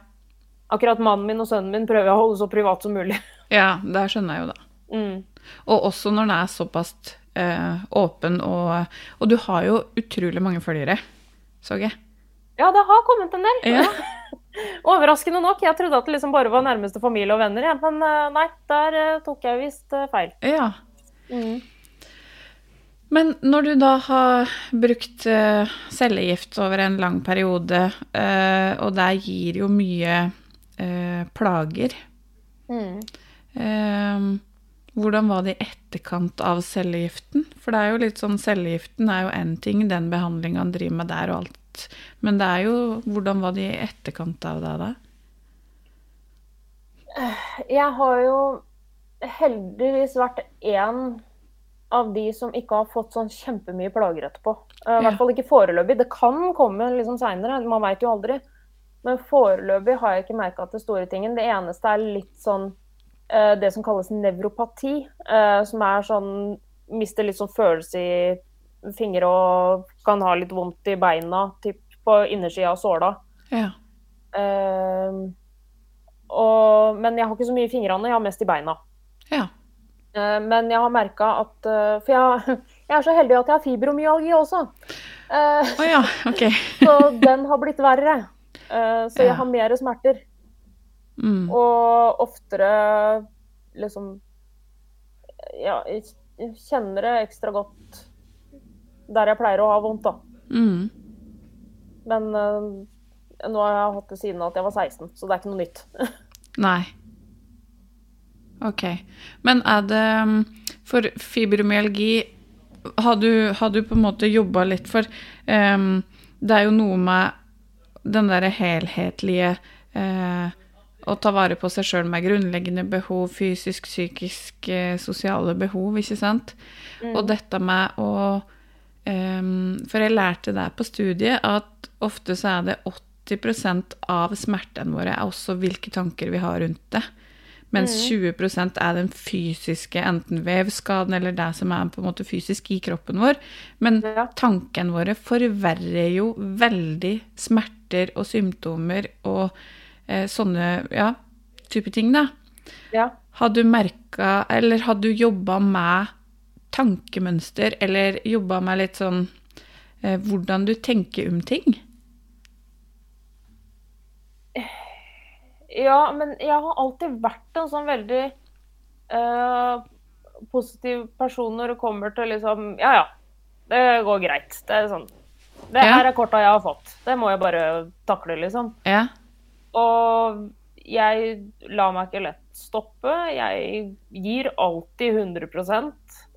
S2: Akkurat mannen min og sønnen min prøver jeg å holde så privat som mulig.
S1: ja, det skjønner jeg jo, da.
S2: Mm.
S1: Og også når den er såpass eh, åpen og Og du har jo utrolig mange følgere, så jeg.
S2: Ja, det har kommet en del.
S1: Ja.
S2: Overraskende nok. Jeg trodde at det liksom bare var nærmeste familie og venner, ja. men eh, nei, der eh, tok jeg visst eh, feil. Mm.
S1: ja. Men når du da har brukt eh, cellegift over en lang periode, eh, og det gir jo mye eh, plager
S2: Mm.
S1: eh, Hvordan var det i etterkant av cellegiften? For det er jo litt sånn, cellegiften er jo én ting, den behandlinga han driver med der og alt. Men det er jo Hvordan var det i etterkant av det, da?
S2: Jeg har jo heldigvis vært én av de som ikke har fått sånn kjempemye plager etterpå. Eh, I
S1: Ja.
S2: hvert fall ikke foreløpig. Det kan komme liksom seinere, man veit jo aldri. Men foreløpig har jeg ikke merka til store tingen. Det eneste er litt sånn eh, det som kalles nevropati, eh, som er sånn Mister litt sånn følelse i fingre og kan ha litt vondt i beina, typ på innersida av såla.
S1: Ja.
S2: Eh, og, men jeg har ikke så mye i fingrene, jeg har mest i beina.
S1: Ja.
S2: Eh, Men jeg har merka at eh, For jeg, jeg er så heldig at jeg har fibromyalgi også. Eh,
S1: Å ja, ok.
S2: Så den har blitt verre. Eh, Så
S1: Ja.
S2: jeg har mer smerter.
S1: Mm.
S2: Og oftere liksom Ja, jeg kjenner det ekstra godt der jeg pleier å ha vondt, da.
S1: Mm.
S2: Men eh, nå har jeg hatt det siden at jeg var 16, så det er ikke noe nytt.
S1: Nei. Ok. Men er det mm, For fibromyalgi har du, har du på en måte jobba litt for em, Det er jo noe med den derre helhetlige eh, Å ta vare på seg sjøl med grunnleggende behov, fysisk, psykisk, eh, sosiale behov, ikke sant? Og dette med å em, For jeg lærte der på studiet at ofte så er det 80 av smertene våre er også hvilke tanker vi har rundt det. Mens
S2: Mm.
S1: 20 er den fysiske, enten vevskaden eller det som er på en måte fysisk i kroppen vår. Men
S2: Ja.
S1: tankene våre forverrer jo veldig smerter og symptomer og eh, sånne ja, type ting, da.
S2: Ja.
S1: Har du merka, eller har du jobba med tankemønster, eller jobba med litt sånn eh, hvordan du tenker om ting?
S2: Ja, men jeg har alltid vært en sånn veldig eh, positiv person når det kommer til liksom Ja, ja. Det går greit. Det er sånn. Det
S1: Ja.
S2: her er korta jeg har fått. Det må jeg bare takle, liksom.
S1: Ja.
S2: Og jeg lar meg ikke lett stoppe. Jeg gir alltid 100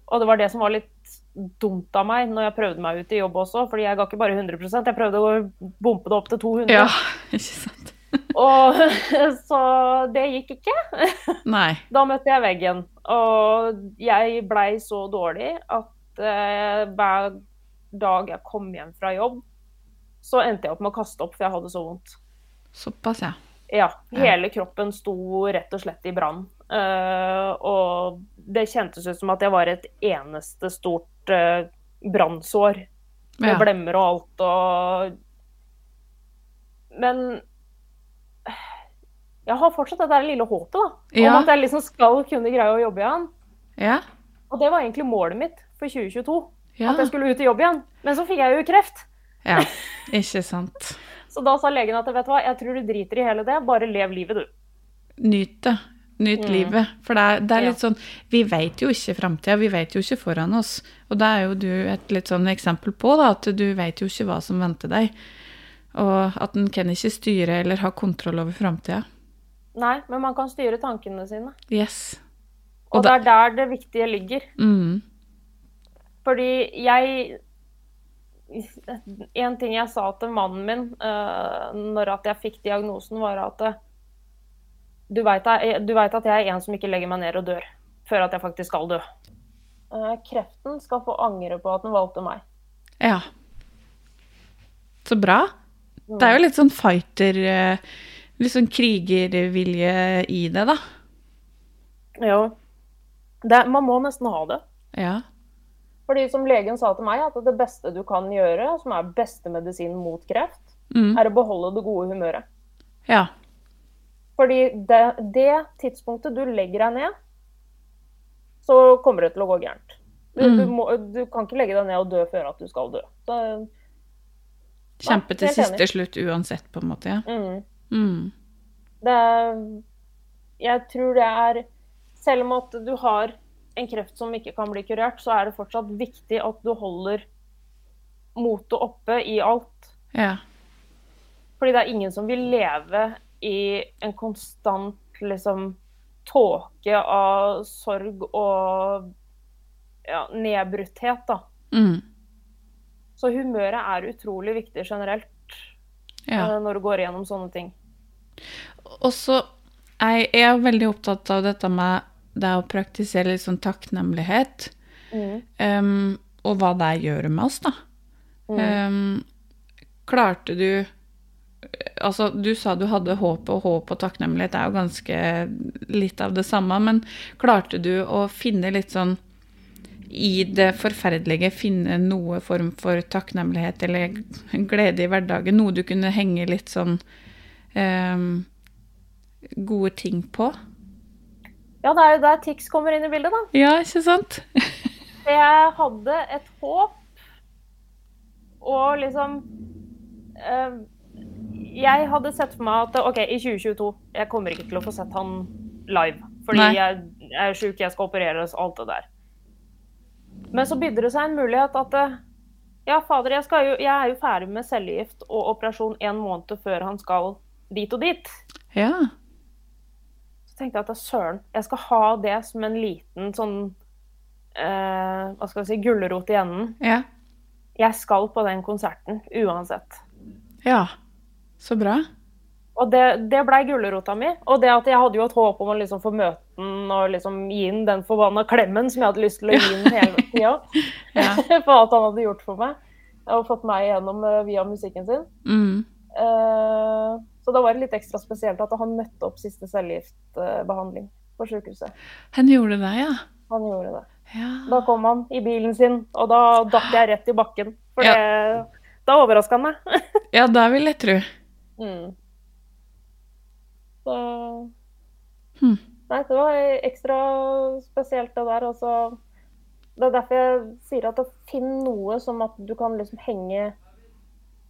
S2: Og det var det som var litt dumt av meg når jeg prøvde meg ut i jobb også, fordi jeg ga ikke bare 100 jeg prøvde å bompe det opp til 200
S1: Ja, ikke sant?
S2: Og så det gikk ikke.
S1: Nei.
S2: Da møtte jeg veggen, og jeg blei så dårlig at eh, hver dag jeg kom hjem fra jobb, så endte jeg opp med å kaste opp, for jeg hadde så vondt.
S1: Såpass, ja.
S2: Ja,
S1: Ja.
S2: hele kroppen sto rett og slett i brann. Eh, og det kjentes ut som at jeg var et eneste stort uh, brannsår med
S1: ja.
S2: blemmer og alt og Men jeg har fortsatt det der lille håpet, da. Om
S1: Ja.
S2: at jeg liksom skal kunne greie å jobbe igjen.
S1: Ja.
S2: Og det var egentlig målet mitt for 2022.
S1: Ja.
S2: At jeg skulle ut i jobb igjen. Men så fikk jeg jo kreft.
S1: ja. Ikke sant.
S2: Så da sa legen at vet du hva, jeg tror du driter i hele det, bare lev livet, du.
S1: Nyt det. Nyt
S2: Mm.
S1: livet. For det er, det er
S2: Ja.
S1: litt sånn Vi vet jo ikke framtida, vi vet jo ikke foran oss. Og det er jo du et litt sånn eksempel på, da, at du vet jo ikke hva som venter deg. Og at en kan ikke styre eller ha kontroll over framtida.
S2: Nei, men man kan styre tankene sine.
S1: Yes.
S2: Og,
S1: Og
S2: det er der det viktige ligger.
S1: Mm.
S2: Fordi jeg En ting jeg sa til mannen min uh, når at jeg fikk diagnosen, var at eh, du veit at jeg er en som ikke legger meg ned og dør før at jeg faktisk skal dø. Eh, kreften skal få angre på at den valgte meg.
S1: Ja. Så bra. Det er jo litt sånn fighter eh, Litt sånn krigervilje i det, da.
S2: Jo. Det, man må nesten ha det.
S1: Ja.
S2: Fordi som legen sa til meg, at det beste du kan gjøre, som er beste medisin mot kreft,
S1: Mm.
S2: er å beholde det gode humøret.
S1: Ja.
S2: Fordi det, det tidspunktet du legger deg ned, så kommer det til å gå gærent. Du, du, må, du kan ikke legge deg ned og dø før at du skal dø. Så,
S1: Kjempe til
S2: helt enig.
S1: siste slutt uansett, på en måte. Ja.
S2: mm,
S1: Mm.
S2: det, er- jeg tror det er Selv om at du har en kreft som ikke kan bli kurert, så er det fortsatt viktig at du holder motet oppe i alt.
S1: Ja.
S2: Fordi det er ingen som vil leve i en konstant liksom tåke av sorg og ja, nedbrutthet, da.
S1: Mm.
S2: Så humøret er utrolig viktig generelt
S1: ja.
S2: eh, når du går gjennom sånne ting.
S1: Og så er jeg er jo veldig opptatt av dette med det å praktisere litt sånn takknemlighet.
S2: Mm.
S1: Ehm, og hva det gjør med oss, da.
S2: Mm.
S1: Ehm, klarte du Altså, du sa du hadde håp, og håp og takknemlighet er jo ganske litt av det samme, men klarte du å finne litt sånn i det forferdelige finne noe form for takknemlighet eller glede i hverdagen? Noe du kunne henge litt sånn ehm, gode ting på?
S2: Ja, det er jo der TIX kommer inn i bildet, da.
S1: Ja, ikke sant?
S2: For jeg hadde et håp, og liksom eh, Jeg hadde sett for meg at OK, i 2022 Jeg kommer ikke til å få sett han live. Fordi
S1: Nei.
S2: jeg, jeg er sjuk, jeg skal opereres, alt det der. Men så bydde det seg en mulighet at eh, Ja, fader, jeg, skal jo, jeg er jo ferdig med cellegift og operasjon en måned før han skal dit og dit.
S1: Ja.
S2: Så tenkte jeg at søren, jeg skal ha det som en liten sånn eh, Hva skal jeg si gulrot i enden.
S1: Ja.
S2: Jeg skal på den konserten uansett.
S1: Ja. Så bra.
S2: Og det, det blei gulrota mi. Og det at jeg hadde jo et håp om å liksom få møte den og liksom gi den den forbanna klemmen som jeg hadde lyst til å gi den hele tida.
S1: Ja.
S2: for alt han hadde gjort for meg. Og fått meg igjennom eh, via musikken sin.
S1: Mm.
S2: Eh, så da var det litt ekstra spesielt at han møtte opp siste cellegiftbehandling på sjukehuset.
S1: Han gjorde det, ja.
S2: Han gjorde det.
S1: ja.
S2: Da kom han i bilen sin, og da datt jeg rett i bakken. For
S1: Ja.
S2: det, da overraska han meg.
S1: Ja, det vil jeg tro.
S2: Mm. Så
S1: Hmm.
S2: Nei, det var ekstra spesielt det der. Og så Det er derfor jeg sier at å finne noe som at du kan liksom henge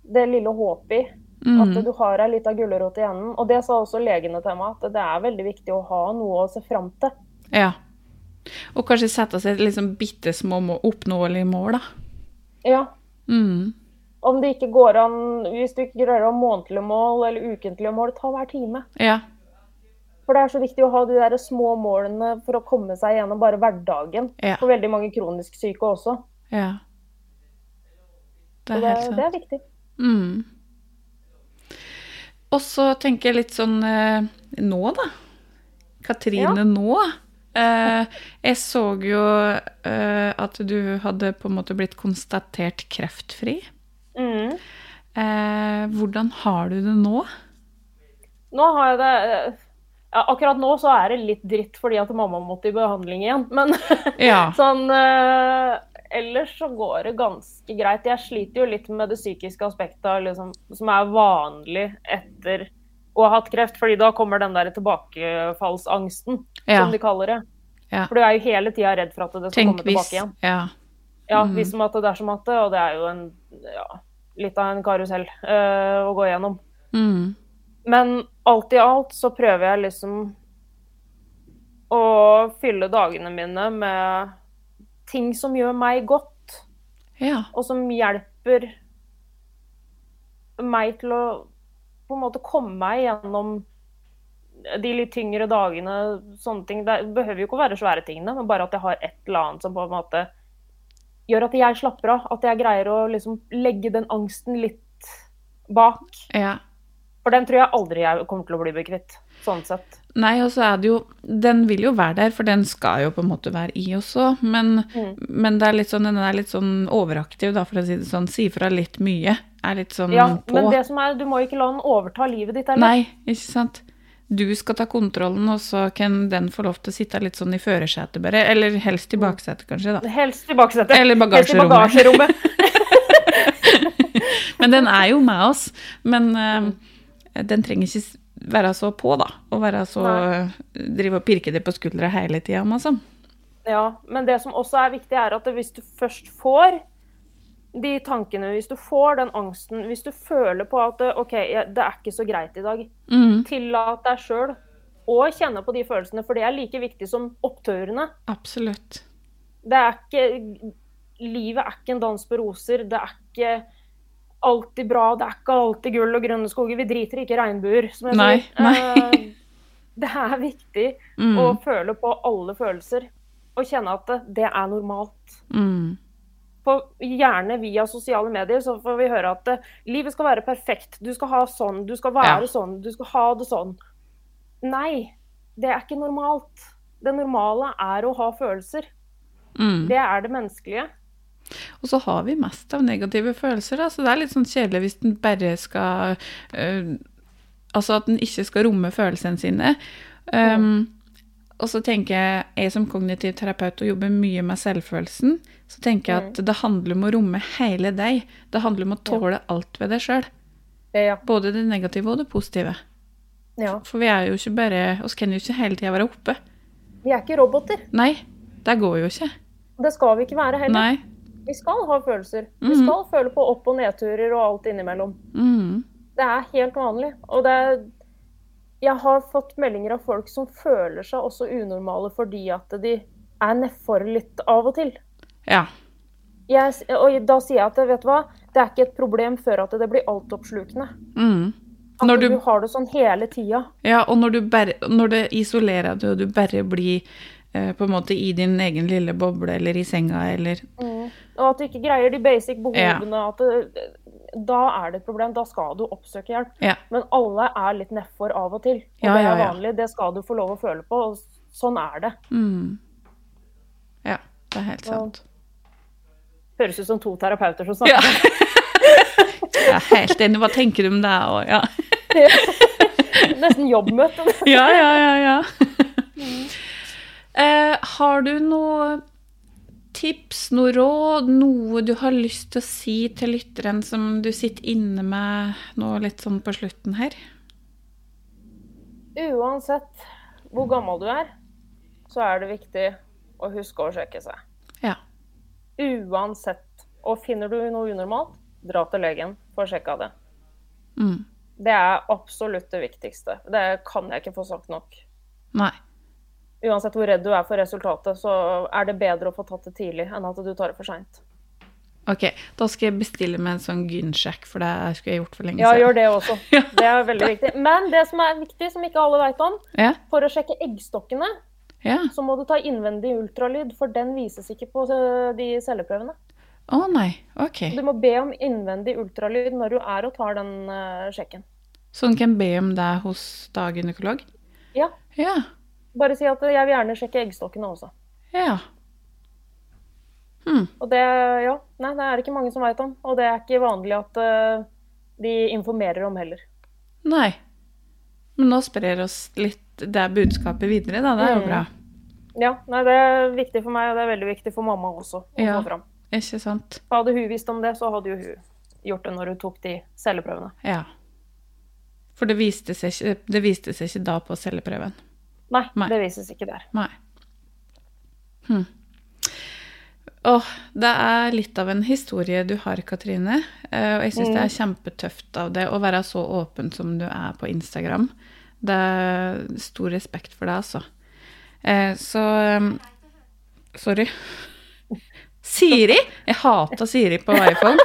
S2: det lille håpet i. At
S1: Mm.
S2: du har ei lita gulrot i enden. Og det sa også legene til meg, at det er veldig viktig å ha noe å se fram til.
S1: Ja. Og kanskje sette seg liksom bitte små må oppnåelige mål, da.
S2: Ja,
S1: Mm.
S2: om det ikke går an Hvis du ikke greier å ha månedlige mål eller ukentlige mål, ta hver time.
S1: Ja.
S2: For det er så viktig å ha de der små målene for å komme seg gjennom bare hverdagen.
S1: Ja.
S2: For veldig mange kronisk syke også.
S1: Ja. Det
S2: Så
S1: er
S2: det,
S1: helt
S2: det
S1: sant.
S2: er viktig.
S1: Mm. Og så tenker jeg litt sånn eh, nå, da. Katrine
S2: Ja.
S1: nå. Eh, jeg så jo eh, at du hadde på en måte blitt konstatert kreftfri.
S2: Mm.
S1: Eh, hvordan har du det nå?
S2: Nå har jeg det eh, ja, Akkurat nå så er det litt dritt fordi at mamma måtte i behandling igjen. Men
S1: Ja.
S2: sånn eh, Ellers så går det ganske greit. Jeg sliter jo litt med det psykiske aspektet av liksom, som er vanlig etter å ha hatt kreft, fordi da kommer den der tilbakefallsangsten,
S1: Ja.
S2: Sånn som de kaller det.
S1: Ja.
S2: For du er jo hele tida redd for at det skal
S1: Tenk
S2: komme tilbake
S1: hvis
S2: igjen.
S1: Ja.
S2: Ja,
S1: Mm.
S2: hvis som at det er som at det, og det er jo en, ja, litt av en karusell eh, å gå gjennom.
S1: Mm.
S2: Men alt i alt så prøver jeg liksom å fylle dagene mine med ting som gjør meg godt,
S1: Ja.
S2: og som hjelper meg til å på en måte komme meg gjennom de litt tyngre dagene, sånne ting. Det behøver jo ikke å være svære tingene, men bare at jeg har et eller annet som på en måte gjør at jeg slapper av. At jeg greier å liksom legge den angsten litt bak.
S1: ja.
S2: For den tror jeg aldri jeg kommer til å bli bekvitt. Sånn sett.
S1: Nei, og så er det jo Den vil jo være der, for den skal jo på en måte være i også, men,
S2: Mm.
S1: men det er litt sånn, den er litt sånn overaktiv, da, for å si det sånn. Si fra litt mye. Er litt sånn
S2: Ja,
S1: på.
S2: men det som er, du må ikke la den overta livet ditt heller.
S1: Nei, ikke sant. Du skal ta kontrollen, og så kan den få lov til å sitte litt sånn i førersetet, bare. Eller helst
S2: Mm.
S1: i baksetet, kanskje, da.
S2: Helst i baksetet.
S1: Eller
S2: Helst i
S1: bagasjerommet. Men den er jo med oss. Men
S2: Mm.
S1: eh, den trenger ikke s- være så på, da. Og være så Drive og pirke det på skuldra hele tida, altså.
S2: ja, men det som også er viktig, er at hvis du først får de tankene, hvis du får den angsten, hvis du føler på at OK, jeg- det er ikke så greit i dag,
S1: Mm,
S2: tillat deg sjøl å kjenne på de følelsene, for det er like viktig som oppturene.
S1: absolutt.
S2: Det er ikke Livet er ikke en dans på roser. Det er ikke alltid bra. Det er ikke alltid gull og grønne skoger. Vi driter ikke i regnbuer, som jeg
S1: Nei,
S2: sier.
S1: nei.
S2: Eh, Det er viktig
S1: Mm.
S2: å føle på alle følelser og kjenne at det- det er normalt.
S1: Mm,
S2: For gjerne via sosiale medier så får vi høre at eh, livet skal være perfekt. Du skal ha sånn, du skal være
S1: Ja.
S2: sånn, du skal ha det sånn. Nei, det er ikke normalt. Det normale er å ha følelser.
S1: Mm.
S2: Det er det menneskelige.
S1: Og så har vi mest av negative følelser, da, så det er litt sånn kjedelig hvis den bare skal øh, Altså at den ikke skal romme følelsene sine. Um, Og så tenker jeg, jeg som kognitiv terapeut og jobber mye med selvfølelsen, så tenker jeg at det handler om å romme hele deg. Det handler om å tåle alt ved deg sjøl.
S2: Ja.
S1: Både det negative og det positive.
S2: ja.
S1: For vi er jo ikke bare oss kan jo ikke hele tida være oppe.
S2: Vi er ikke roboter.
S1: Nei, det går jo ikke.
S2: Og Det skal vi ikke være heller.
S1: Nei.
S2: Vi skal ha følelser. Vi
S1: Mhm.
S2: skal føle på opp- og nedturer og alt innimellom.
S1: Mm.
S2: Det er helt vanlig. Og det er Jeg har fått meldinger av folk som føler seg også unormale fordi at de er nedfor litt av og til.
S1: Ja.
S2: Jeg, s- og da sier jeg at vet du hva, det er ikke et problem før at det blir altoppslukende.
S1: Mm.
S2: At
S1: Når
S2: du...
S1: du-
S2: har det sånn hele tida.
S1: Ja, og når, du bare, når det isolerer deg, og du bare blir eh, på en måte i din egen lille boble eller i senga eller
S2: Og at du ikke greier de basic behovene. At det, da er det et problem. Da skal du oppsøke hjelp.
S1: Ja.
S2: Men alle er litt nedfor av og til. Og
S1: Ja,
S2: det
S1: ja,
S2: er
S1: ja.
S2: vanlig. Det skal du få lov å føle på. Og sånn er det.
S1: Mm. Ja, det er helt sant.
S2: Høres ut som to terapeuter som
S1: Ja.
S2: snakker.
S1: Jeg er helt enig. Hva tenker du om det òg? Ja.
S2: Nesten jobbmøte.
S1: ja, ja, ja. ja. Eh, har du noe tips, noe råd, noe du har lyst til å si til lytteren som du sitter inne med nå litt sånn på slutten her?
S2: Uansett hvor gammel du er, så er det viktig å huske å sjekke seg.
S1: Ja.
S2: Uansett. Og finner du noe unormalt, dra til legen for å sjekke av det.
S1: Mm.
S2: Det er absolutt det viktigste. Det kan jeg ikke få sagt nok.
S1: Nei.
S2: Uansett hvor redd du er for resultatet, så er det bedre å få tatt det tidlig enn at du tar det for seint.
S1: Ok, da skal jeg bestille meg en sånn gynsjekk, for det skulle jeg gjort for lenge
S2: Ja,
S1: siden.
S2: gjør det også. Det er veldig viktig. Men det som er viktig, som ikke alle veit om,
S1: Ja,
S2: for å sjekke eggstokkene,
S1: ja.
S2: så må du ta innvendig ultralyd, for den vises ikke på eh, de celleprøvene.
S1: Å nei, ok.
S2: Du må be om innvendig ultralyd når du er og tar den eh, sjekken.
S1: Så hun kan be om det hos da gynekolog?
S2: Ja.
S1: Ja,
S2: Bare si at eh, jeg vil gjerne sjekke eggstokkene også.
S1: ja. Hm,
S2: Og det, ja, nei, det er det ikke mange som veit om. Og det er ikke vanlig at eh, de informerer om heller.
S1: nei. Men nå sprer oss litt det budskapet videre, da. Det er jo
S2: Mm.
S1: bra.
S2: Ja, nei, det er viktig for meg, og det er veldig viktig for mamma også. å
S1: Ja.
S2: få fram.
S1: Ikke sant?
S2: For Hadde hun visst om det, så hadde jo hun gjort det når hun tok de celleprøvene.
S1: Ja. For det viste seg ikke, det viste seg ikke da på celleprøven.
S2: Nei,
S1: Nei.
S2: det vises ikke der.
S1: Nei. Hm. Åh, det er litt av en historie du har, Katrine. Eh, Og jeg syns det er kjempetøft av deg å være så åpen som du er på Instagram. Det er stor respekt for deg, altså. Eh, Så eh, Sorry. Siri! Jeg hater Siri på iPhone.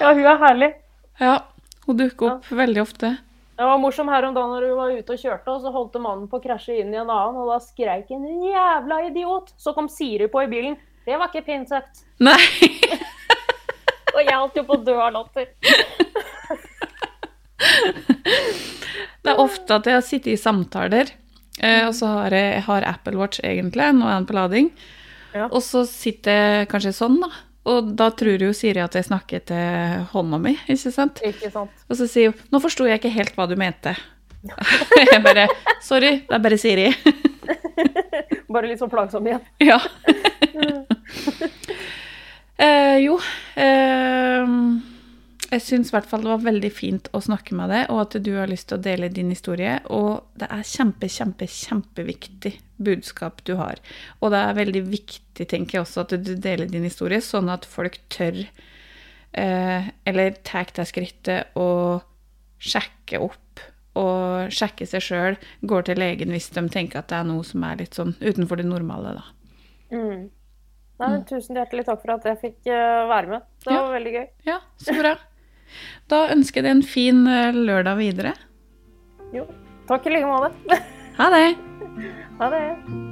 S2: Ja, hun er herlig.
S1: Ja, hun dukker opp veldig ofte.
S2: Det var morsom her om dagen når hun var ute og kjørte, og så holdt mannen på å krasje inn i en annen, og da skreik en jævla idiot. Så kom Siri på i bilen. Det var ikke pent sagt.
S1: Nei!
S2: Og jeg holdt jo på å dø av latter.
S1: Det er ofte at jeg sitter i samtaler, eh, og så har jeg, jeg har Apple Watch egentlig, nå er den på lading,
S2: Ja.
S1: og så sitter jeg kanskje sånn da, og da tror jo Siri at jeg snakker til hånda mi, ikke sant?
S2: Ikke sant.
S1: Og så sier hun, nå forstod jeg ikke helt hva du mente. Jeg bare, sorry, det er bare Siri.
S2: Bare litt sånn plagsom igjen.
S1: Ja. eh, jo. ehm, jeg syns i hvert fall det var veldig fint å snakke med deg, og at du har lyst til å dele din historie. Og det er kjempe, kjempe, kjempeviktig budskap du har. Og det er veldig viktig, tenker jeg også, at du deler din historie, sånn at folk tør eh, Eller tar det skrittet og sjekker opp. Og sjekker seg sjøl, går til legen hvis de tenker at det er noe som er litt sånn utenfor det normale, da.
S2: Mm. Nei, men tusen hjertelig takk for at jeg fikk eh, være med. Det
S1: Ja.
S2: var veldig gøy.
S1: Ja, så bra. Da ønsker jeg deg en fin eh, lørdag videre.
S2: Jo. Takk i like måte.
S1: Ha det!
S2: Ha det.